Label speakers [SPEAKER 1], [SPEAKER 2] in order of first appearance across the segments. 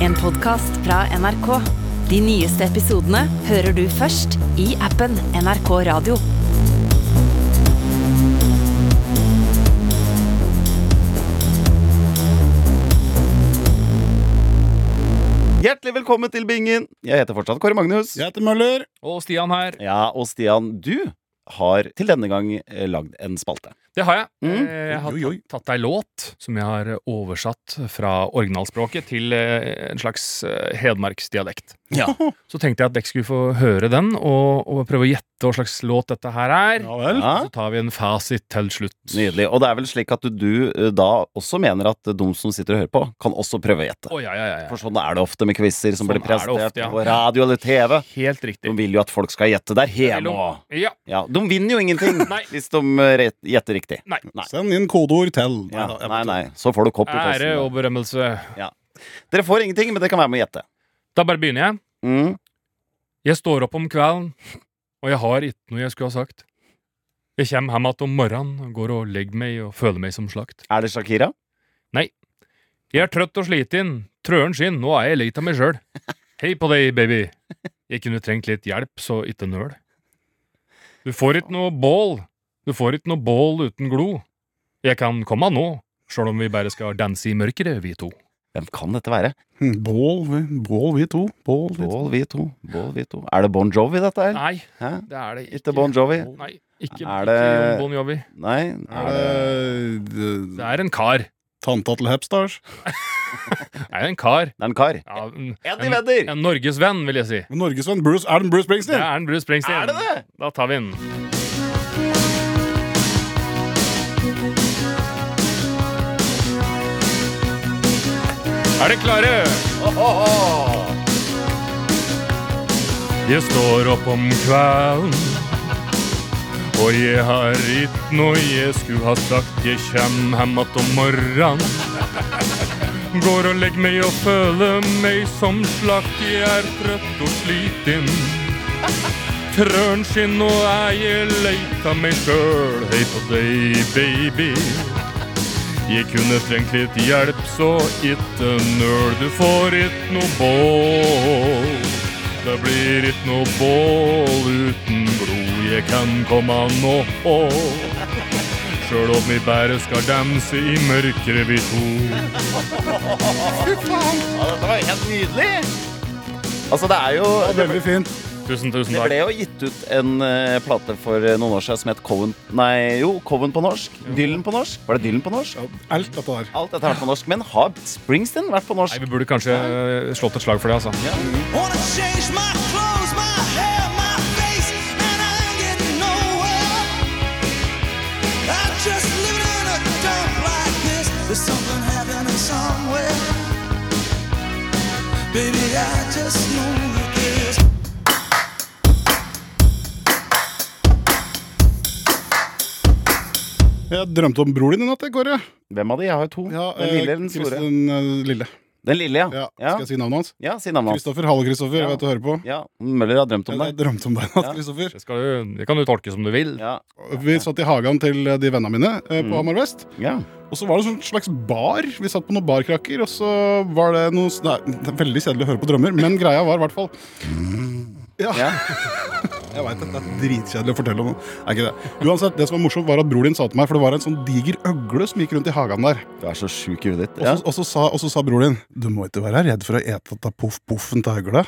[SPEAKER 1] En podkast fra NRK. De nyeste episodene hører du først i appen NRK Radio.
[SPEAKER 2] Hjertelig velkommen til Bingen! Jeg heter fortsatt Kåre Magnus.
[SPEAKER 3] Jeg heter Møller.
[SPEAKER 4] Og Stian her.
[SPEAKER 2] Ja, og Stian, du har til denne gang eh, lagd en spalte.
[SPEAKER 4] Det har jeg.
[SPEAKER 2] Mm.
[SPEAKER 4] Eh, Jeg har
[SPEAKER 3] Oi, oi.
[SPEAKER 4] tatt ei låt som jeg har oversatt fra originalspråket til eh, en slags eh, hedmarksdialekt.
[SPEAKER 2] Ja.
[SPEAKER 4] Så tenkte jeg at dere skulle få høre den, og, og prøve å gjette hva slags låt dette her er.
[SPEAKER 3] Ja vel.
[SPEAKER 2] Ja,
[SPEAKER 4] Så tar vi en fasit til slutt.
[SPEAKER 2] Nydelig. Og det er vel slik at du eh, da også mener at de som sitter og hører på, kan også prøve å gjette.
[SPEAKER 4] Å, ja, ja, ja,
[SPEAKER 2] For sånn er det ofte med quizer som
[SPEAKER 4] Sånn
[SPEAKER 2] blir
[SPEAKER 4] er det
[SPEAKER 2] presentert
[SPEAKER 4] ofte, ja.
[SPEAKER 2] på radio eller TV.
[SPEAKER 4] ja. Helt
[SPEAKER 2] De
[SPEAKER 4] riktig.
[SPEAKER 2] vil jo at folk skal gjette der
[SPEAKER 4] Jeg
[SPEAKER 2] hjemme.
[SPEAKER 4] vil om- Ja.
[SPEAKER 2] Ja, de vinner jo ingenting
[SPEAKER 4] Nei.
[SPEAKER 2] hvis de eh, ret- gjetter riktig. Nei.
[SPEAKER 3] Send inn kodeord til.
[SPEAKER 2] Ja,
[SPEAKER 3] da, jeg
[SPEAKER 2] nei,
[SPEAKER 3] vet
[SPEAKER 2] nei. Så får du kopp i
[SPEAKER 4] Ære
[SPEAKER 2] posten.
[SPEAKER 4] og berømmelse.
[SPEAKER 2] Dere får ingenting, men dere kan være med å gjette.
[SPEAKER 4] Da bare begynner jeg.
[SPEAKER 2] Mm.
[SPEAKER 4] Jeg står opp om kvelden, og jeg har ikke noe jeg skulle ha sagt. Jeg kommer hjem igjen om morgenen, går og legger meg og føler meg som slakt.
[SPEAKER 2] Er det Shakira?
[SPEAKER 4] Jeg er trøtt og sliten. Trøen skinn, nå er jeg lei av meg sjøl. Hei på deg, baby. Jeg kunne trengt litt hjelp, så ikke nøl. Du får ikke noe bål. Du får ikke noe bål uten glo. Jeg kan komme nå, sjøl om vi bare skal danse i mørket, vi to.
[SPEAKER 2] Hvem kan dette være?
[SPEAKER 3] du. Hm, Bål, vi- bål vi to. Bål, vi to.
[SPEAKER 2] Bål, vi to. Bål, vi to. Er det Bon Jovi, dette her?
[SPEAKER 4] Nei,
[SPEAKER 2] Hæ?
[SPEAKER 4] det er det ikke.
[SPEAKER 2] Ikke Bon Jovi?
[SPEAKER 4] Nei, ikke,
[SPEAKER 2] Er
[SPEAKER 4] er
[SPEAKER 2] det-
[SPEAKER 4] det... Bon Jovi.
[SPEAKER 2] Nei.
[SPEAKER 3] Er det, det-
[SPEAKER 4] Det er en kar.
[SPEAKER 3] tanta til Hepstars?
[SPEAKER 4] Det er en kar.
[SPEAKER 2] Det er en kar.
[SPEAKER 4] Ja, en,
[SPEAKER 2] Eddie
[SPEAKER 4] en,
[SPEAKER 2] Vedder!
[SPEAKER 4] en norgesvenn, vil jeg si.
[SPEAKER 3] Norgesvenn Bruce Er den Bruce
[SPEAKER 4] Det
[SPEAKER 3] Springsteen?
[SPEAKER 4] er en Bruce Springsteen.
[SPEAKER 2] Er det det?
[SPEAKER 4] Da tar vi den. Er dere klare? Jeg står opp om kvelden, og jeg har ikke noe jeg skulle ha sagt. Jeg kjem hjem att om morgenen. Går og legger meg og føler meg som slakt. Jeg er trøtt og sliten. Trøren sin og jeg leita meg sjøl. Hei på deg, baby. Jeg kunne trengt litt hjelp, så ikke nøl. Du får ikke noe bål. Det blir ikke noe bål uten blod. Jeg kan komme nå. Sjøl om vi bare skal danse i mørket, vi to.
[SPEAKER 2] Ja, dette var helt nydelig! Altså, det er jo det,
[SPEAKER 3] Veldig fint.
[SPEAKER 4] Tusen, tusen
[SPEAKER 2] det ble
[SPEAKER 4] takk.
[SPEAKER 2] jo gitt ut en eh, plate for eh, noen år siden som het Coven Nei, jo, Coven på norsk. Dylan på norsk. Var det Dylan på norsk?
[SPEAKER 3] Ja, Alt dette der.
[SPEAKER 2] Alt dette har vært på norsk. Men har Springsteen vært på norsk?
[SPEAKER 4] Nei, vi burde kanskje eh, slått et slag for det, altså.
[SPEAKER 5] Wanna change my clothes, my hair, my face, and I'm getting nowhere. I just live in a dump like this. There's something happening somewhere. Baby, I just know it is.
[SPEAKER 3] Jeg drømte om broren din i natt, jeg, Kåre.
[SPEAKER 2] Hvem av de? Jeg har jo to.
[SPEAKER 3] Ja,
[SPEAKER 2] den lille
[SPEAKER 3] eh,
[SPEAKER 2] eller den store?
[SPEAKER 3] Kristin, eh, Lille.
[SPEAKER 2] Den lille, ja.
[SPEAKER 3] Ja,
[SPEAKER 2] Ja,
[SPEAKER 3] Skal jeg si navnet hans?
[SPEAKER 2] ja si navnet hans.
[SPEAKER 3] Kristoffer. Hallo, Kristoffer.
[SPEAKER 2] Ja.
[SPEAKER 3] Jeg vet du hører på.
[SPEAKER 2] Ja, Møller har drømt om
[SPEAKER 3] Jeg
[SPEAKER 2] deg.
[SPEAKER 3] drømte om deg i
[SPEAKER 2] Ja.
[SPEAKER 3] natt, Kristoffer.
[SPEAKER 4] Det, skal du, det kan du tolke som du vil.
[SPEAKER 2] Ja.
[SPEAKER 3] Vi satt i hagen til eh, de vennene mine eh,
[SPEAKER 2] Mm.
[SPEAKER 3] på Hamar Vest.
[SPEAKER 2] ja.
[SPEAKER 3] Og så var det en sånn slags bar. Vi satt på noen barkrakker, og så var det noe sånn- Nei, det er veldig kjedelig å høre på drømmer, men greia var i hvert fall Ja.
[SPEAKER 2] Ja.
[SPEAKER 3] Jeg veit det er dritkjedelig å fortelle om. Er ikke det. Uansett, det som var morsomt, var at bror din sa til meg, for det var en sånn diger øgle som gikk rundt i hagen der.
[SPEAKER 2] Du er så sjuk i huet ditt.
[SPEAKER 3] Og
[SPEAKER 2] Ja.
[SPEAKER 3] så, og så, sa, og så sa bror din, du må ikke være redd for å ete dette poff-poffen til øgla.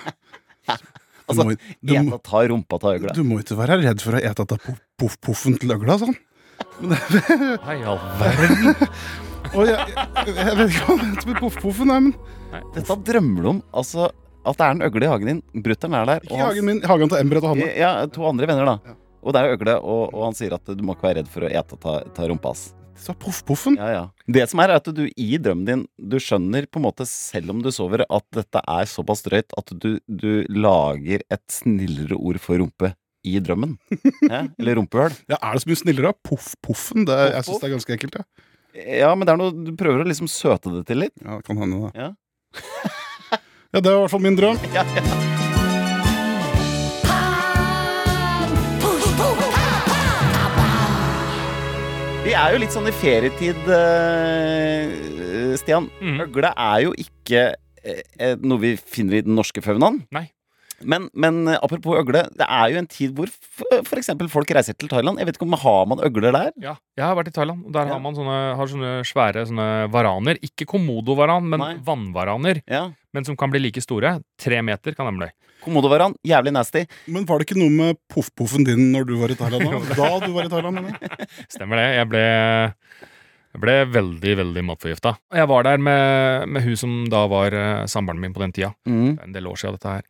[SPEAKER 3] Du må, du,
[SPEAKER 2] Ena
[SPEAKER 3] må-
[SPEAKER 2] tar rumpa til Altså, øgla.
[SPEAKER 3] du må ikke være redd for å ete dette poff-poffen til øgla, sa han.
[SPEAKER 4] Hei, all verden.
[SPEAKER 3] Og jeg, jeg, jeg vet ikke hva det heter med poff-poffen, nei, men
[SPEAKER 2] Dette drømmer du om. Altså, at det er en øgle i hagen din. Brutter'n er der.
[SPEAKER 3] ikke i
[SPEAKER 2] han-
[SPEAKER 3] hagen min, i hagen til Embret og Hanne.
[SPEAKER 2] Ja, to andre venner, da. Og det er jo øgle, og, og han sier at du må ikke være redd for å ete ta, ta rumpa hans.
[SPEAKER 3] Så poff-poffen
[SPEAKER 2] Ja, ja. Det som er, er at du i drømmen din Du skjønner på en måte, selv om du sover, at dette er såpass drøyt at du, du lager et snillere ord for rumpe i drømmen. Ja, eller rumpehull.
[SPEAKER 3] ja, Er det så mye snillere? da? Poff-poffen? Det- Jeg
[SPEAKER 2] Poff-poff?
[SPEAKER 3] syns det er ganske ekkelt. Ja.
[SPEAKER 2] Ja, men det er noe Du prøver å liksom søte det til litt.
[SPEAKER 3] Ja, det kan hende, det.
[SPEAKER 2] Ja.
[SPEAKER 3] ja, det var i hvert fall min drøm.
[SPEAKER 2] Vi er jo litt sånn i ferietid, eh, Stian.
[SPEAKER 4] Mm.
[SPEAKER 2] Øgle er jo ikke eh, noe vi finner i den norske faunaen.
[SPEAKER 4] Nei.
[SPEAKER 2] Men, men eh, apropos øgle, det er jo en tid hvor f.eks. folk reiser til Thailand. Jeg vet ikke om har man øgler der?
[SPEAKER 4] Ja, jeg har vært i Thailand, og
[SPEAKER 2] Ja.
[SPEAKER 4] der har man sånne, har sånne svære sånne varaner. Ikke komodovaran, men
[SPEAKER 2] Nei.
[SPEAKER 4] vannvaraner.
[SPEAKER 2] Ja.
[SPEAKER 4] Men som kan bli like store. Tre meter kan de bli.
[SPEAKER 2] Komodovaran, jævlig nasty.
[SPEAKER 3] Men var det ikke noe med poff-poffen din når du var i Thailand? Da, da du var i Thailand, mener jeg.
[SPEAKER 4] Stemmer det. Jeg ble, jeg ble veldig, veldig matforgifta. Og Jeg var der med, med hun som da var eh, samboeren min på den tida.
[SPEAKER 2] Mm.
[SPEAKER 4] Det er en del år siden dette her.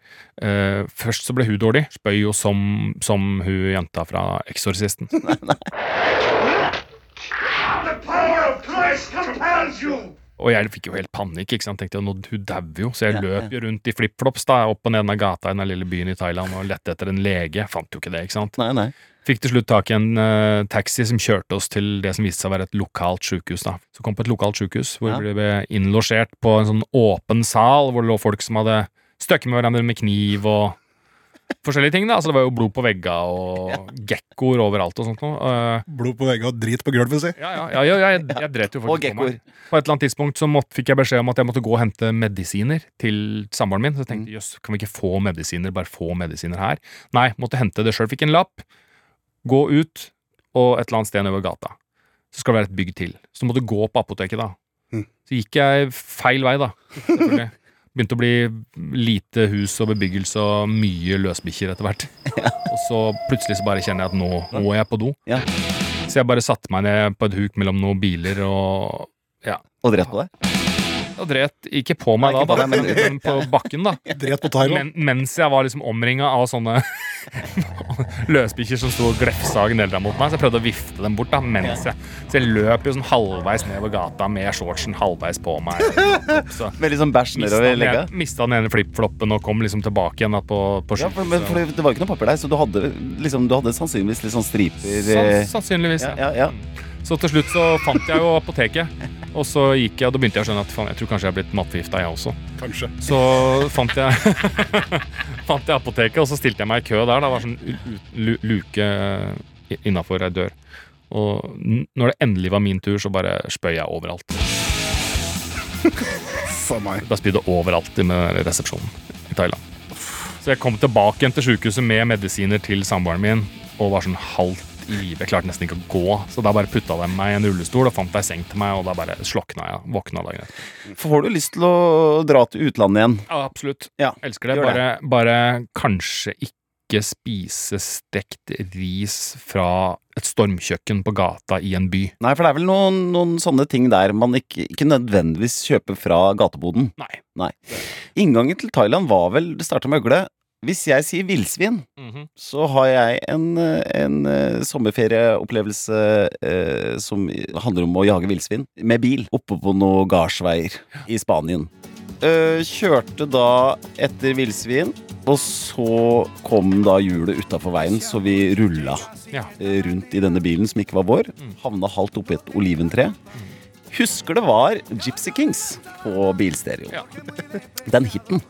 [SPEAKER 4] Eh, først så ble hun dårlig. Spøy jo som, som hun jenta fra Eksorsisten.
[SPEAKER 6] The power of Christ compels you!
[SPEAKER 4] Og jeg fikk jo helt panikk. ikke sant? Tenkte jo, nå, Hun dauer jo. Så jeg
[SPEAKER 2] Ja,
[SPEAKER 4] løp jo rundt i flipflops da, opp og ned den gata i den lille byen i Thailand og lette etter en lege. Fant jo ikke det, ikke sant.
[SPEAKER 2] Nei, nei.
[SPEAKER 4] Fikk til slutt tak i en eh, taxi som kjørte oss til det som viste seg å være et lokalt sjukehus. da. Så kom på et lokalt sjukehus, hvor
[SPEAKER 2] Ja.
[SPEAKER 4] vi ble innlosjert på en sånn åpen sal, hvor det lå folk som hadde støkket med hverandre med kniv og forskjellige ting. da. Så det var jo blod på vegga og gekkoer overalt og sånt noe. Eh,
[SPEAKER 3] Blod på veggene og drit på gulvet, si.
[SPEAKER 4] ja, ja, ja, ja, ja jeg, jeg dret jo
[SPEAKER 2] Og
[SPEAKER 4] faktisk på
[SPEAKER 2] gekkoer.
[SPEAKER 4] meg. På et eller annet tidspunkt så måtte, fikk jeg beskjed om at jeg måtte gå og hente medisiner til samboeren min. Så jeg tenkte
[SPEAKER 2] Mm.
[SPEAKER 4] jøss, kan vi ikke få medisiner, bare få medisiner her? Nei, måtte hente det sjøl. Fikk en lapp. Gå ut, og et eller annet sted nedover gata. Så skal det være et bygg til. Så måtte du gå på apoteket, da.
[SPEAKER 3] Mm.
[SPEAKER 4] Så gikk jeg feil vei, da. selvfølgelig. Begynte å bli lite hus og bebyggelse og mye løsbikkjer etter hvert. Og så plutselig så bare kjenner jeg at nå må jeg på do.
[SPEAKER 2] Ja.
[SPEAKER 4] Så jeg bare satte meg ned på et huk mellom noen biler og ja.
[SPEAKER 2] Og drept på deg?
[SPEAKER 4] Og dret ikke på meg
[SPEAKER 2] Nei, ikke
[SPEAKER 4] da,
[SPEAKER 2] på
[SPEAKER 4] da
[SPEAKER 2] deg,
[SPEAKER 4] men,
[SPEAKER 2] men-
[SPEAKER 4] men på bakken, da.
[SPEAKER 3] Dret på Thailand.
[SPEAKER 4] Men, mens jeg var liksom omringa av sånne løsbikkjer som sto og glefsa og gnelda mot meg. Så jeg prøvde å vifte dem bort. da mens jeg, Så jeg løp jo sånn halvveis nedover gata med shortsen halvveis på meg. Så
[SPEAKER 2] Veldig sånn bæsj
[SPEAKER 4] mista
[SPEAKER 2] nedover
[SPEAKER 4] den
[SPEAKER 2] legga?
[SPEAKER 4] ene- mista den ene flipfloppen og kom liksom tilbake igjen da, på, på
[SPEAKER 2] Ja,
[SPEAKER 4] skjorten.
[SPEAKER 2] for, men, for det var ikke noe papir der, så du hadde, liksom, du hadde sannsynligvis litt sånn striper eh,
[SPEAKER 4] Sann- Sannsynligvis.
[SPEAKER 2] ja,
[SPEAKER 4] ja.
[SPEAKER 2] ja, ja.
[SPEAKER 4] Så til slutt så fant jeg jo apoteket. Og så gikk jeg, og da begynte jeg å skjønne at faen, jeg tror kanskje jeg er blitt matforgifta, jeg også.
[SPEAKER 3] Kanskje.
[SPEAKER 4] Så fant jeg, fant jeg apoteket, og så stilte jeg meg i kø der. da. Det var sånn u- u- lu- luke innafor ei dør. Og n- når det endelig var min tur, så bare spøy jeg overalt.
[SPEAKER 3] For meg.
[SPEAKER 4] Da spydde overalt i med resepsjonen i Thailand. Så jeg kom tilbake igjen til sykehuset med medisiner til samboeren min og var sånn halvt i live. Jeg klarte nesten ikke å gå, så da bare putta de meg i en rullestol og fant ei seng til meg, og da bare slokna jeg. Våkna dagen etter.
[SPEAKER 2] Får du lyst til å dra til utlandet igjen?
[SPEAKER 4] Ja, absolutt.
[SPEAKER 2] Ja,
[SPEAKER 4] Elsker det.
[SPEAKER 2] gjør det.
[SPEAKER 4] Bare, bare kanskje ikke spise stekt ris fra et stormkjøkken på gata i en by.
[SPEAKER 2] Nei, for det er vel noen, noen sånne ting der man ikke, ikke nødvendigvis kjøper fra gateboden.
[SPEAKER 4] Nei.
[SPEAKER 2] Inngangen til Thailand var vel Det starta med øgle. Hvis jeg sier villsvin,
[SPEAKER 4] Mhm.
[SPEAKER 2] så har jeg en, eh, en eh, sommerferieopplevelse eh, som handler om å jage villsvin med bil oppe på noen gardsveier i Spanien. Eh, kjørte da etter villsvin, og så kom da hjulet utafor veien, så vi rulla
[SPEAKER 4] Ja.
[SPEAKER 2] eh, rundt i denne bilen som ikke var vår. Havna halvt oppi et oliventre. Husker det var Gypsy Kings på bilstereo.
[SPEAKER 4] Ja.
[SPEAKER 2] Den hiten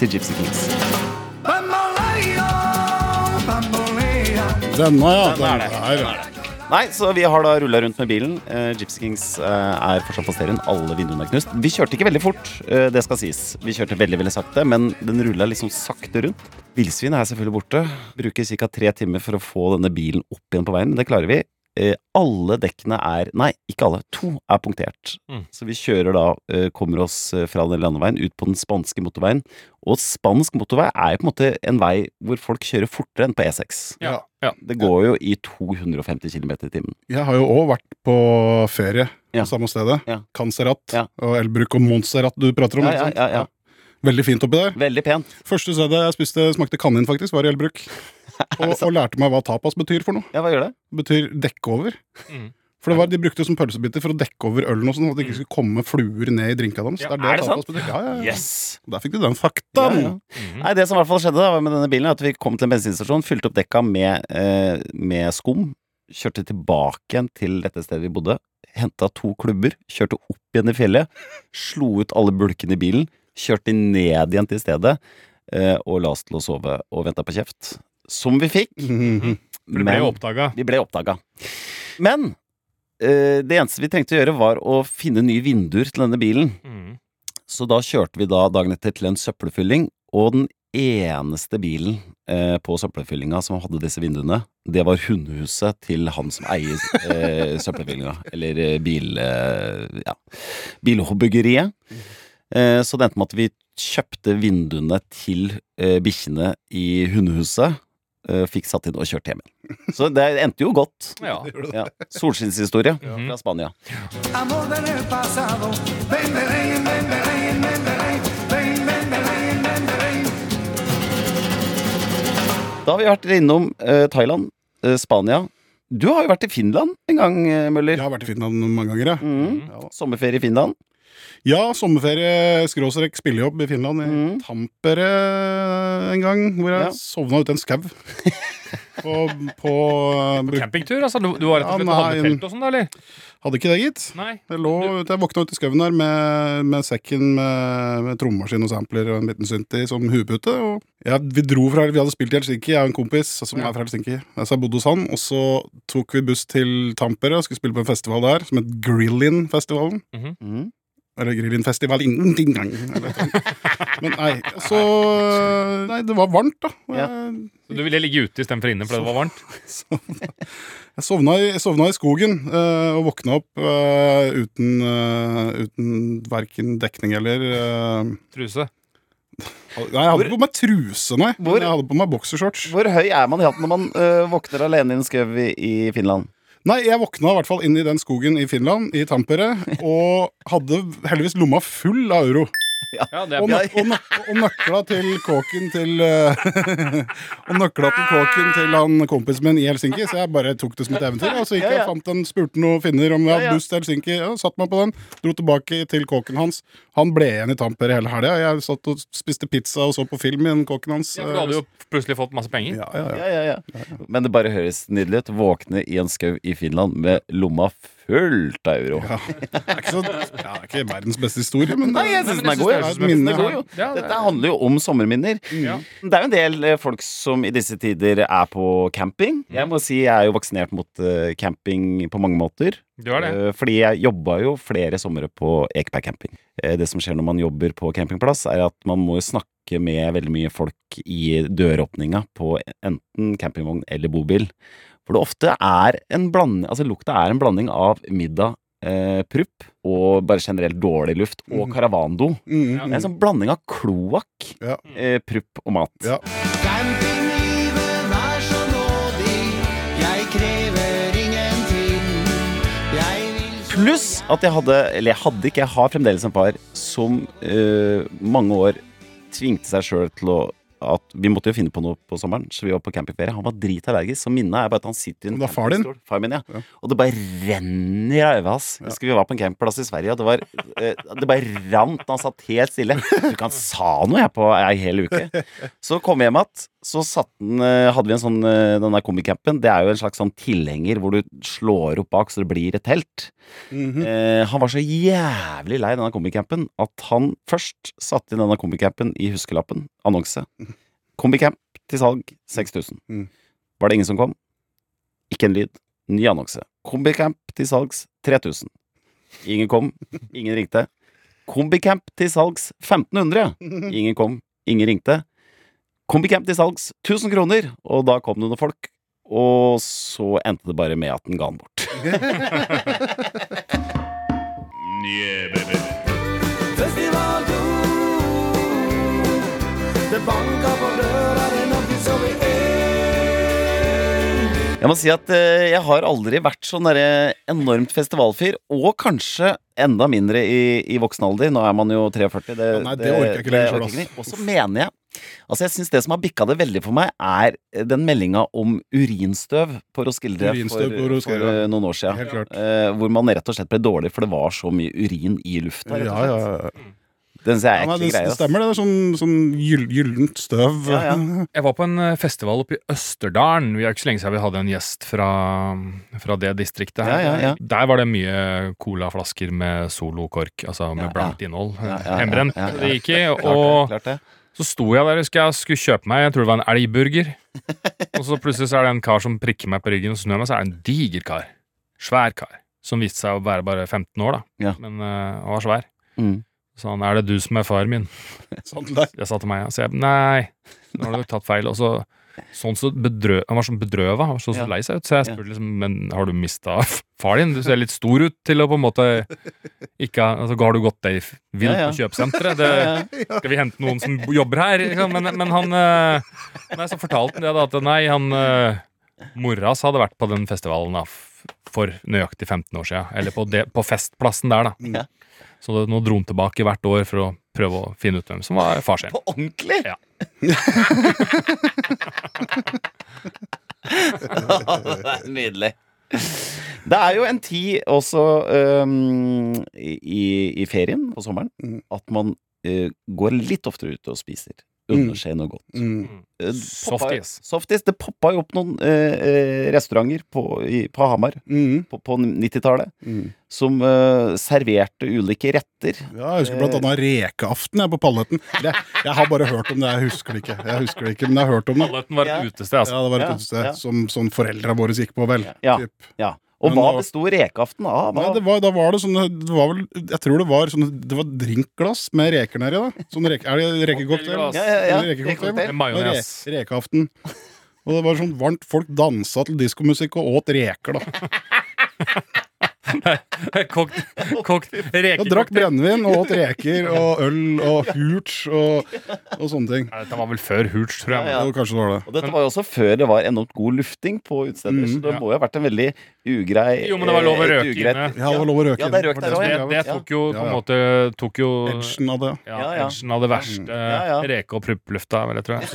[SPEAKER 2] til Gypsy Kings.
[SPEAKER 6] Bamboleo, bamboleo.
[SPEAKER 3] Denne, ja. Den er det.
[SPEAKER 2] Nei, så vi har da rulla rundt med bilen. Eh, Gypsy Kings eh, er fortsatt på sterien. Alle vinduene er knust. Vi kjørte ikke veldig fort, eh, det skal sies. Vi kjørte veldig veldig sakte, men den rulla liksom sakte rundt. Villsvin er selvfølgelig borte. Bruker ca. tre timer for å få denne bilen opp igjen på veien, men det klarer vi. Eh, alle dekkene er Nei, ikke alle. To er punktert.
[SPEAKER 4] Mm.
[SPEAKER 2] Så vi kjører da, eh, kommer oss eh, fra den landeveien ut på den spanske motorveien. Og spansk motorvei er jo på en måte en vei hvor folk kjører fortere enn på E6.
[SPEAKER 4] Ja. ja.
[SPEAKER 2] Det går jo i 250 km i timen.
[SPEAKER 3] Jeg har jo òg vært på ferie
[SPEAKER 2] Ja.
[SPEAKER 3] på samme stedet.
[SPEAKER 2] Ja.
[SPEAKER 3] Cancerat
[SPEAKER 2] Ja.
[SPEAKER 3] og Elbruk og Montserrat du prater om.
[SPEAKER 2] Ja, ja,
[SPEAKER 3] ikke sant?
[SPEAKER 2] ja, ja.
[SPEAKER 3] Veldig fint oppi der.
[SPEAKER 2] Veldig pent.
[SPEAKER 3] Første stedet jeg spiste smakte kanin, faktisk, var i Elbruk. Og, og lærte meg hva tapas betyr for noe.
[SPEAKER 2] Ja, hva gjør det?
[SPEAKER 3] Det betyr dekke over.
[SPEAKER 4] Mm.
[SPEAKER 3] For det var, De brukte det som pølsebiter for å dekke over ølen, og sånn, at det ikke skulle komme fluer ned i drinka deres. det
[SPEAKER 4] Ja,
[SPEAKER 3] er det,
[SPEAKER 2] er det
[SPEAKER 3] tapas betyr. Ja, ja, ja.
[SPEAKER 2] Yes!
[SPEAKER 3] Der fikk du den faktaen.
[SPEAKER 2] Ja, ja. Nei, det som i hvert fall skjedde da var med denne bilen, er at vi kom til en bensinstasjon, fylte opp dekka med, eh, med skum, kjørte tilbake igjen til dette stedet vi bodde, henta to klubber, kjørte opp igjen i fjellet, slo ut alle bulkene i bilen, kjørte ned igjen til stedet eh, og la oss til å sove og venta på kjeft. Som vi fikk,
[SPEAKER 3] Mhm.
[SPEAKER 4] For det ble jo oppdaga.
[SPEAKER 2] Vi ble oppdaga. Men
[SPEAKER 4] Mhm.
[SPEAKER 2] eh, det eneste vi trengte å gjøre, var å finne nye vinduer til denne bilen. Så da kjørte vi da dagen etter til en søppelfylling, og den eneste bilen eh, på søppelfyllinga som hadde disse vinduene, det var hundehuset til han som eier eh, søppelfyllinga, eller eh, bil... Eh, ja, bilhobbygeriet. Eh, så det endte med at vi kjøpte vinduene til eh, bikkjene i hundehuset, eh, fikk satt inn og kjørte hjem igjen. Så det endte jo godt.
[SPEAKER 4] Ja. Mhm.
[SPEAKER 2] Ja. Solskinnshistorie fra Spania.
[SPEAKER 7] amor del pasado. Ven, Belén, ven, Belén, ven, Belén, ven, ven, Belén, ven, Belén.
[SPEAKER 2] Da har vi vært innom eh, Thailand, eh, Spania. Du har jo vært i Finland en gang, eh, Møller.
[SPEAKER 3] Jeg har vært i Finland mange ganger, jeg.
[SPEAKER 2] Mhm. Sommerferie i Finland.
[SPEAKER 3] Ja, sommerferie, skråstrek, spillejobb i Finland. I
[SPEAKER 2] Mm.
[SPEAKER 3] Tampere en gang, hvor jeg
[SPEAKER 2] Ja.
[SPEAKER 3] sovna ute i en skau. på, på
[SPEAKER 4] Campingtur, altså? Du, du var rett og slett og
[SPEAKER 3] Ja,
[SPEAKER 4] hadde
[SPEAKER 3] nei.
[SPEAKER 4] telt og sånn, da, eller?
[SPEAKER 3] Hadde ikke det, gitt.
[SPEAKER 4] Nei.
[SPEAKER 3] Jeg, lå, ute- jeg våkna ute i skauen der med, med sekken med, med trommaskin og sampler og en liten synti som huepute. Og jeg, vi dro fra, vi hadde spilt i Helsinki, jeg og en kompis som er fra Helsinki. Så jeg bodde hos han, og så tok vi buss til Tampere og skulle spille på en festival der som het Grillin-festivalen.
[SPEAKER 2] Mhm.
[SPEAKER 3] Eller Grillin-festival ingen ting, gang, eller et eller annet. Men nei, og så Nei, det var varmt, da. Eh, Og
[SPEAKER 2] Ja.
[SPEAKER 3] jeg,
[SPEAKER 4] Så du ville ligge ute istedenfor inne fordi det var varmt?
[SPEAKER 3] Sovna. Jeg sovna i, jeg sovna i skogen eh, og våkna opp eh, uten, eh, uten verken dekning eller eh,
[SPEAKER 4] Truse.
[SPEAKER 3] Nei, jeg hadde
[SPEAKER 2] Hvor-
[SPEAKER 3] på meg truse, nei.
[SPEAKER 2] Hvor-
[SPEAKER 3] Men jeg hadde på meg boksershorts.
[SPEAKER 2] Hvor høy er man i hatten når man eh, våkner alene i en skau i, i Finland?
[SPEAKER 3] Nei, jeg våkna i hvert fall inn i den skogen i Finland, i Tampere, og hadde heldigvis lomma full av euro.
[SPEAKER 4] Ja, det
[SPEAKER 3] Og, nø
[SPEAKER 4] er bra.
[SPEAKER 3] og, nø og nøkla til kåken til eh, Og nøkla til kåken til han kompisen min i Helsinki, så jeg bare tok det som et eventyr. Og så gikk jeg og fant en, spurte noen finner om vi hadde buss til Helsinki, ja, satt meg på den, dro tilbake til kåken hans. Han ble igjen i Tamper hele helga. Jeg satt og spiste pizza og så på film i den kåken hans.
[SPEAKER 4] Ja, for Du hadde jo plutselig fått masse penger.
[SPEAKER 3] ja, ja, ja.
[SPEAKER 2] Ja, ja, ja. Men det bare høres nydelig ut. Våkne i en skau i Finland med lomma fullt av euro.
[SPEAKER 3] Eh, Det er ikke, så, ja, det er ikke verdens beste historie, men
[SPEAKER 2] Nei, jeg
[SPEAKER 4] Nei,
[SPEAKER 2] syns
[SPEAKER 4] men
[SPEAKER 2] den er
[SPEAKER 4] jeg
[SPEAKER 2] god.
[SPEAKER 4] synes
[SPEAKER 2] jeg.
[SPEAKER 3] det er-
[SPEAKER 2] Den er god, jo.
[SPEAKER 4] Ja, det er-
[SPEAKER 2] Dette handler jo om sommerminner.
[SPEAKER 4] Ja.
[SPEAKER 2] Det er jo en del eh, folk som i disse tider er på camping.
[SPEAKER 4] Mm.
[SPEAKER 2] Jeg må si jeg er jo vaksinert mot eh, camping på mange måter.
[SPEAKER 4] Du er det.
[SPEAKER 2] Eh, Fordi jeg jobba jo flere somre på Ekeberg camping. Eh, Det som skjer når man jobber på campingplass, er at man må jo snakke med veldig mye folk i døråpninga på enten campingvogn eller bobil. For det ofte er en blanding Altså lukta er en blanding av middag, eh, prupp og bare generelt dårlig luft, og karavando.
[SPEAKER 3] Mm,
[SPEAKER 2] Det er en sånn blanding av kloakk,
[SPEAKER 3] Ja.
[SPEAKER 2] eh, prupp og mat.
[SPEAKER 3] Ja.
[SPEAKER 7] Campinglivet er så nådig, jeg krever ingenting. Jeg vil så
[SPEAKER 2] Pluss at jeg hadde, eller jeg hadde ikke, jeg har fremdeles en far som eh, mange år tvingte seg sjøl til å at Vi måtte jo finne på noe på sommeren, så vi var på campingferie. Han var dritallergisk, så minnet er bare at han sitter i en
[SPEAKER 3] Og det er far din?
[SPEAKER 2] campingstol. Far min, ja.
[SPEAKER 3] Ja.
[SPEAKER 2] Og det bare renner av øynene hans. Jeg Husker vi var på en campingplass i Sverige, og det, var, eh, det bare rant når han satt helt stille. Jeg tror ikke han sa noe jeg på ei hel uke. Så kom vi hjem igjen, så satt den, eh, hadde vi en sånn eh, Den der komikampen, det er jo en slags sånn tilhenger hvor du slår opp bak så det blir et telt.
[SPEAKER 3] Mhm.
[SPEAKER 2] Eh, han var så jævlig lei denne komicampen at han først satte inn denne komicampen i huskelappen. Annonse. Komicamp til salg 6000.
[SPEAKER 3] Mm.
[SPEAKER 2] Var det ingen som kom? Ikke en lyd. Ny annonse. Kombicamp til salgs 3000. Ingen kom. Ingen ringte. Kombicamp til salgs 1500. Ingen kom. Ingen ringte. Kombicamp til salgs 1000 kroner. Og da kom det noen folk. Og så endte det bare med at den ga den bort.
[SPEAKER 7] Festival Det banker på døra di når vi sover inn.
[SPEAKER 2] Jeg må si at eh, jeg har aldri vært sånn derre enormt festivalfyr, og kanskje enda mindre i, i voksen alder. Nå er man jo 43. Det,
[SPEAKER 3] Ja, nei, det orker jeg ikke lenger selv, ass.
[SPEAKER 2] ikke. Og så mener jeg Altså, jeg syns det som har bikka det veldig for meg, er eh, den meldinga om urinstøv på Roskilde
[SPEAKER 3] Urinstøv
[SPEAKER 2] for,
[SPEAKER 3] på
[SPEAKER 2] for
[SPEAKER 3] Roskilde,
[SPEAKER 2] eh,
[SPEAKER 3] ja.
[SPEAKER 2] noen år siden.
[SPEAKER 3] Helt klart.
[SPEAKER 2] Eh, hvor man rett og slett ble dårlig, for det var så mye urin i lufta.
[SPEAKER 3] Ja,
[SPEAKER 2] rett og
[SPEAKER 3] ja,
[SPEAKER 2] slett.
[SPEAKER 3] ja.
[SPEAKER 2] Den ser jeg er
[SPEAKER 3] Nei, det,
[SPEAKER 2] ekle
[SPEAKER 3] det
[SPEAKER 2] greier. ass.
[SPEAKER 3] stemmer, det. Det er sånn, sånn gyll- gyllent støv.
[SPEAKER 2] Ja, ja.
[SPEAKER 4] Jeg var på en eh, festival oppe i Østerdalen. Vi er ikke så lenge siden vi hadde en gjest fra, fra det distriktet her.
[SPEAKER 2] Ja, ja, ja.
[SPEAKER 4] Der var det mye colaflasker med solokork, altså med
[SPEAKER 2] Ja, ja.
[SPEAKER 4] blankt innhold.
[SPEAKER 2] Ja, ja, ja,
[SPEAKER 4] Hjemmebrent.
[SPEAKER 2] ja, ja.
[SPEAKER 4] Det gikk i.
[SPEAKER 2] Klart,
[SPEAKER 4] Og
[SPEAKER 2] det, klart det.
[SPEAKER 4] så sto jeg der, husker jeg, skulle kjøpe meg, jeg tror det var en elgburger. Og så plutselig så er det en kar som prikker meg på ryggen, og så snur jeg meg, så er det en diger kar. Svær kar. Som viste seg å være bare 15 år, da.
[SPEAKER 2] Ja.
[SPEAKER 4] Men eh, han var svær.
[SPEAKER 2] Mm.
[SPEAKER 4] Så han, er det du som er far min?
[SPEAKER 3] Sånn til deg.
[SPEAKER 4] Jeg sa til meg, så jeg, nei, nå har du nok tatt feil. Og så, sånn så bedrø, han var sånn bedrøva, han var så, så
[SPEAKER 2] Ja.
[SPEAKER 4] lei seg ut. Så jeg
[SPEAKER 2] Ja.
[SPEAKER 4] spurte liksom, men har du mista far din? Du ser litt stor ut til å på en måte ikke ha- altså, Har du gått deg vill
[SPEAKER 2] Ja, ja.
[SPEAKER 4] på kjøpesenteret?
[SPEAKER 2] Eh,
[SPEAKER 4] Det, skal vi hente noen som jobber her? Liksom? Men, men han eh, Nei, så fortalte han det, da, at nei, han eh, Mora hans hadde vært på den festivalen da, f- for nøyaktig 15 år siden. Eller på, det, på festplassen der, da.
[SPEAKER 2] Ja.
[SPEAKER 4] Så det, nå dro han tilbake hvert år for å prøve å finne ut hvem som var far sin.
[SPEAKER 2] På ordentlig?
[SPEAKER 4] Ja.
[SPEAKER 2] det er nydelig. Det er jo en tid også øhm, i, i ferien på sommeren
[SPEAKER 3] Mhm.
[SPEAKER 2] at man øh, går litt oftere ut og spiser.
[SPEAKER 3] Mm.
[SPEAKER 2] Unner seg noe godt.
[SPEAKER 3] Mm.
[SPEAKER 2] Eh, poppa-
[SPEAKER 4] Softies.
[SPEAKER 2] Softies. Det poppa jo opp noen eh, eh, restauranter på, i, på Hamar
[SPEAKER 3] Mm.
[SPEAKER 2] på, på 90-tallet
[SPEAKER 3] Mm.
[SPEAKER 2] som eh, serverte ulike retter.
[SPEAKER 3] Ja, jeg husker blant annet rekeaften jeg, på Palletten. Det, jeg har bare hørt om det, jeg husker det ikke. Jeg husker det ikke, men jeg har hørt om det.
[SPEAKER 4] Toaletten var et
[SPEAKER 2] Ja.
[SPEAKER 4] utested, altså.
[SPEAKER 3] Ja, det var et
[SPEAKER 2] Ja,
[SPEAKER 3] utested
[SPEAKER 2] ja.
[SPEAKER 3] som, som foreldra våre gikk på, vel.
[SPEAKER 2] Ja.
[SPEAKER 3] Typ.
[SPEAKER 2] Ja. Og
[SPEAKER 3] Men
[SPEAKER 2] hva
[SPEAKER 3] nå-
[SPEAKER 2] besto rekeaften av?
[SPEAKER 3] Nei, det var, da var det sånne det var vel, Jeg tror det var sånne Det var drinkglass med reker nedi, da. Sånn reke, er det rekecocktail?
[SPEAKER 4] Cocktailglass.
[SPEAKER 2] ja, ja, ja.
[SPEAKER 3] Eller rekecocktail. Sånn
[SPEAKER 2] Rekecocktail.
[SPEAKER 4] Med majones.
[SPEAKER 3] Re- Rekeaften. Og det var sånn varmt Folk dansa til diskomusikk og åt reker, da.
[SPEAKER 4] Kokt, kokt
[SPEAKER 3] Og drakk
[SPEAKER 4] rekekokt.
[SPEAKER 3] brennevin og åt reker og øl og hurts og, og sånne ting.
[SPEAKER 4] Nei, Dette var vel før Hurts, tror jeg.
[SPEAKER 2] Ja,
[SPEAKER 3] Jo, kanskje det var det.
[SPEAKER 2] Og dette var jo også før det var enormt god lufting på utesteder,
[SPEAKER 3] Mm,
[SPEAKER 2] så det
[SPEAKER 4] ja.
[SPEAKER 2] må jo ha vært en veldig ugrei
[SPEAKER 4] Jo, men det var lov å
[SPEAKER 2] et
[SPEAKER 4] røyke
[SPEAKER 2] ugreit-
[SPEAKER 4] inne.
[SPEAKER 3] Ja, det var lov å røyke
[SPEAKER 2] Ja, det er
[SPEAKER 3] inne,
[SPEAKER 2] røyk
[SPEAKER 3] for
[SPEAKER 2] der
[SPEAKER 3] det
[SPEAKER 2] også,
[SPEAKER 3] som
[SPEAKER 4] Det,
[SPEAKER 2] ja.
[SPEAKER 3] er
[SPEAKER 4] det tok jo på
[SPEAKER 3] Ja, ja.
[SPEAKER 4] en måte Tok jo
[SPEAKER 3] Edgen av det.
[SPEAKER 4] ja,
[SPEAKER 2] Ja, ja.
[SPEAKER 4] edgen av det verste.
[SPEAKER 2] Ja, ja.
[SPEAKER 4] eh, Reke- og prupplufta, vel, jeg tror jeg.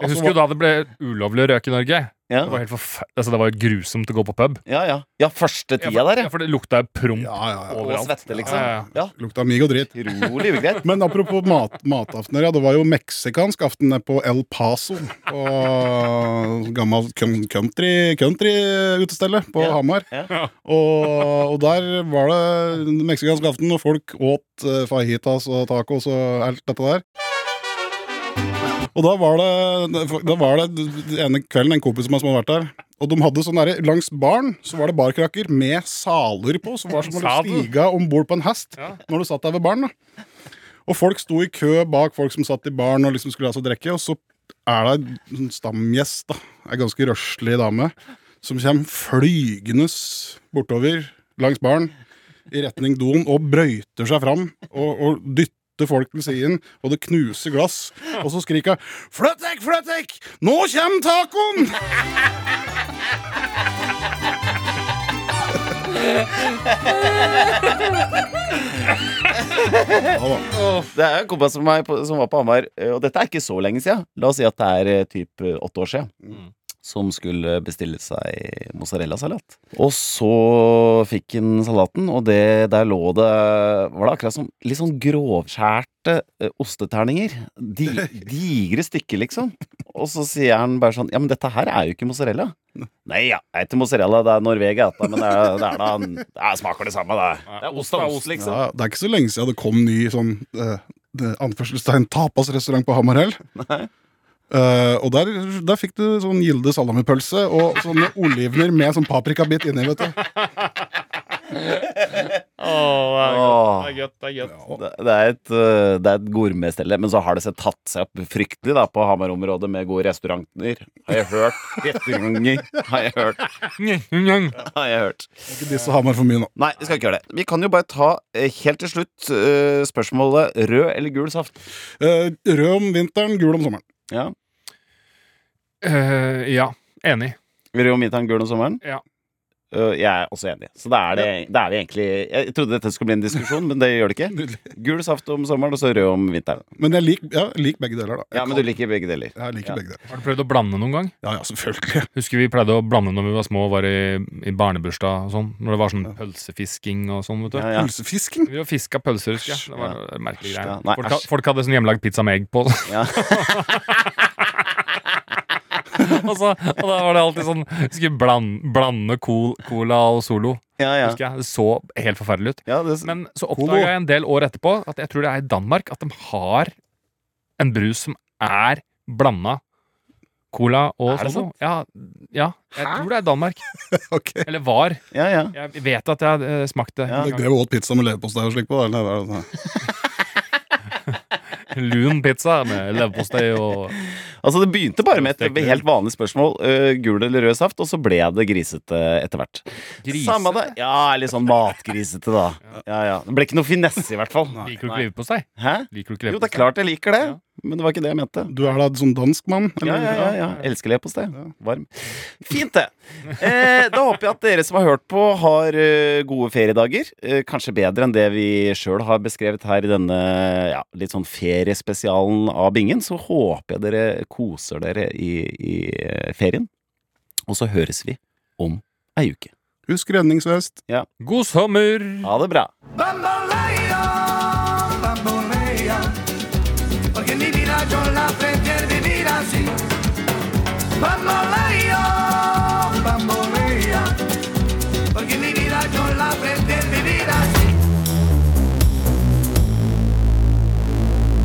[SPEAKER 4] Jeg husker jo da det ble ulovlig å røyke i Norge.
[SPEAKER 2] Ja,
[SPEAKER 4] Det var helt forfe- altså, det var jo grusomt å gå på pub.
[SPEAKER 2] ja, ja. ja, første
[SPEAKER 4] Ja,
[SPEAKER 2] tida
[SPEAKER 4] for,
[SPEAKER 2] der,
[SPEAKER 4] ja,
[SPEAKER 2] ja.
[SPEAKER 4] for det lukta jo promp
[SPEAKER 3] Ja, ja, ja.
[SPEAKER 2] Og
[SPEAKER 4] overalt.
[SPEAKER 2] svette, liksom.
[SPEAKER 4] Ja, ja.
[SPEAKER 2] Ja,
[SPEAKER 3] Lukta mig og dritt.
[SPEAKER 2] utrolig ugreit.
[SPEAKER 3] Men apropos mat, mataftener, ja, det var jo meksikansk aften på El Paso. På gammel coun- country country-utestellet på
[SPEAKER 2] Ja.
[SPEAKER 3] Hamar.
[SPEAKER 2] Ja.
[SPEAKER 3] Og, og der var det meksikansk aften, og folk åt eh, fajitas og tacos og alt dette der. Og da var det, da var det den ene kvelden en kompis av meg som hadde vært der. Og de hadde sånn derre Langs baren så var det barkrakker med saler på, som var som om du
[SPEAKER 4] Sadel?
[SPEAKER 3] stiga om bord på en hest
[SPEAKER 4] Ja.
[SPEAKER 3] når du satt der ved baren. da Og folk sto i kø bak folk som satt i baren og liksom skulle ha seg drikke, og så er det en sånn stamgjest, da, ei ganske røslig dame, som kommer flygende bortover langs baren i retning doen og brøyter seg fram og, og dytter folk til siden, og det knuser glass. Og så skriker hun 'Flytt deg, flytt deg! Nå kommer tacoen!' Ja da.
[SPEAKER 2] Det er en kompis av meg på- som var på Hamar, eh, og dette er ikke så lenge siden. La oss si at det er eh, typ eh, åtte år siden. Som skulle bestille seg mozzarella-salat. Og så fikk han salaten, og det, der lå det Var det akkurat som litt sånn grovskjærte eh, osteterninger? Di, digre stykker, liksom. Og så sier han bare sånn Ja, men dette her er jo ikke mozzarella. Nei, ja, det er ikke mozzarella, det er Norvegia, dette, men det, er, det, er da, det smaker det samme, det. Det er ost av ost, liksom.
[SPEAKER 3] Ja, det er ikke så lenge siden det kom ny sånn eh, det- anførselstegn tapasrestaurant på Hamarhell. Eh, og der, der fikk du sånn Gilde salamipølse og sånne olivener med sånn paprikabit inni, vet du.
[SPEAKER 2] Åh.
[SPEAKER 4] Det er godt, det er godt.
[SPEAKER 2] Det, det er et, øh, det er et gourmetstelle, men så har det seg tatt seg opp fryktelig da, på Hamar-området med gode restauranter. Har jeg hørt. Restauranter har jeg hørt. Har jeg hørt.
[SPEAKER 3] Ikke disse Hamar for mye nå.
[SPEAKER 2] Nei, vi skal ikke gjøre det. Vi kan jo bare ta eh, helt til slutt eh, spørsmålet rød eller gul saft.
[SPEAKER 3] Eh, rød om vinteren, gul om sommeren.
[SPEAKER 2] Ja.
[SPEAKER 4] Eh, ja, enig.
[SPEAKER 2] Rød om vinteren, gul om sommeren.
[SPEAKER 4] Ja.
[SPEAKER 2] Øh, jeg er også enig. Så da er det, da er vi egentlig Jeg trodde dette skulle bli en diskusjon, men det gjør det ikke.
[SPEAKER 3] Nydelig.
[SPEAKER 2] Gul saft om sommeren, og så rød om vinteren.
[SPEAKER 3] Men jeg liker ja, jeg liker begge deler, da. Jeg
[SPEAKER 2] Ja, men du liker begge deler.
[SPEAKER 3] kan- Jeg liker
[SPEAKER 2] Ja.
[SPEAKER 3] begge deler.
[SPEAKER 4] Har du prøvd å blande noen gang?
[SPEAKER 3] Ja, ja, selvfølgelig.
[SPEAKER 4] Husker vi pleide å blande når vi var små og var i, i barnebursdag og sånn. Når det var sånn pølsefisking og sånn, vet du.
[SPEAKER 2] Ja, ja.
[SPEAKER 3] Pølsefisken.
[SPEAKER 4] Vi fiska pølser, husker jeg. Det var
[SPEAKER 2] Ja.
[SPEAKER 4] en merkelig
[SPEAKER 2] Ja,
[SPEAKER 4] greie.
[SPEAKER 2] nei,
[SPEAKER 4] Folk,
[SPEAKER 2] æsj.
[SPEAKER 4] ha- folk hadde sånn hjemmelagd pizza med egg på.
[SPEAKER 2] Ja.
[SPEAKER 4] og, så, og da var det alltid sånn Skulle blande, blande col, cola og Solo.
[SPEAKER 2] Ja, ja.
[SPEAKER 4] Husker jeg. Det så helt forferdelig ut.
[SPEAKER 2] ja det,
[SPEAKER 4] Men så
[SPEAKER 3] Colo.
[SPEAKER 4] oppdaga jeg en del år etterpå at jeg tror det er i Danmark at de har en brus som er blanda Cola og
[SPEAKER 2] Er det
[SPEAKER 4] sånn. noe. Ja, ja, jeg tror det er Danmark.
[SPEAKER 3] Ok.
[SPEAKER 4] Eller var.
[SPEAKER 2] Ja, ja.
[SPEAKER 4] Jeg vet at jeg har eh, smakt det.
[SPEAKER 2] Ja.
[SPEAKER 3] Du drev og åt pizza med leverpostei og slikt på? da, Eller? hva er det sånn?
[SPEAKER 4] Lun pizza med leverpostei og
[SPEAKER 2] Altså, det begynte bare med et helt vanlig spørsmål. øh, gul eller rød saft? Og så ble det grisete etter hvert.
[SPEAKER 4] Grisete?
[SPEAKER 2] Samme det. Ja, litt sånn matgrisete, da. Ja, ja. Det ble ikke noe finesse, i hvert fall.
[SPEAKER 4] Liker du ikke leverpostei?
[SPEAKER 2] Hæ?
[SPEAKER 4] Liker du ikke
[SPEAKER 2] Jo, det er
[SPEAKER 4] leverpostei?
[SPEAKER 2] klart jeg liker det, men det var ikke det jeg mente.
[SPEAKER 3] Du er da sånn dansk mann?
[SPEAKER 2] Ja, ja, ja, ja. Elsker leverpostei. Varm. Fint, det. Eh, da håper jeg at dere som har hørt på, har eh, gode feriedager. Eh, kanskje bedre enn det vi sjøl har beskrevet her i denne ja, litt sånn feriespesialen av Bingen. Så håper jeg dere koser dere i, i eh, ferien. Og så høres vi om ei uke.
[SPEAKER 3] Husk redningsvest.
[SPEAKER 4] God sommer!
[SPEAKER 2] Ha det bra.
[SPEAKER 7] Bamboleo, bamboleo, porque mi vida yo la prefiero vivir así. Bamboleo, bamboleo, porque mi vida yo la prefiero vivir así.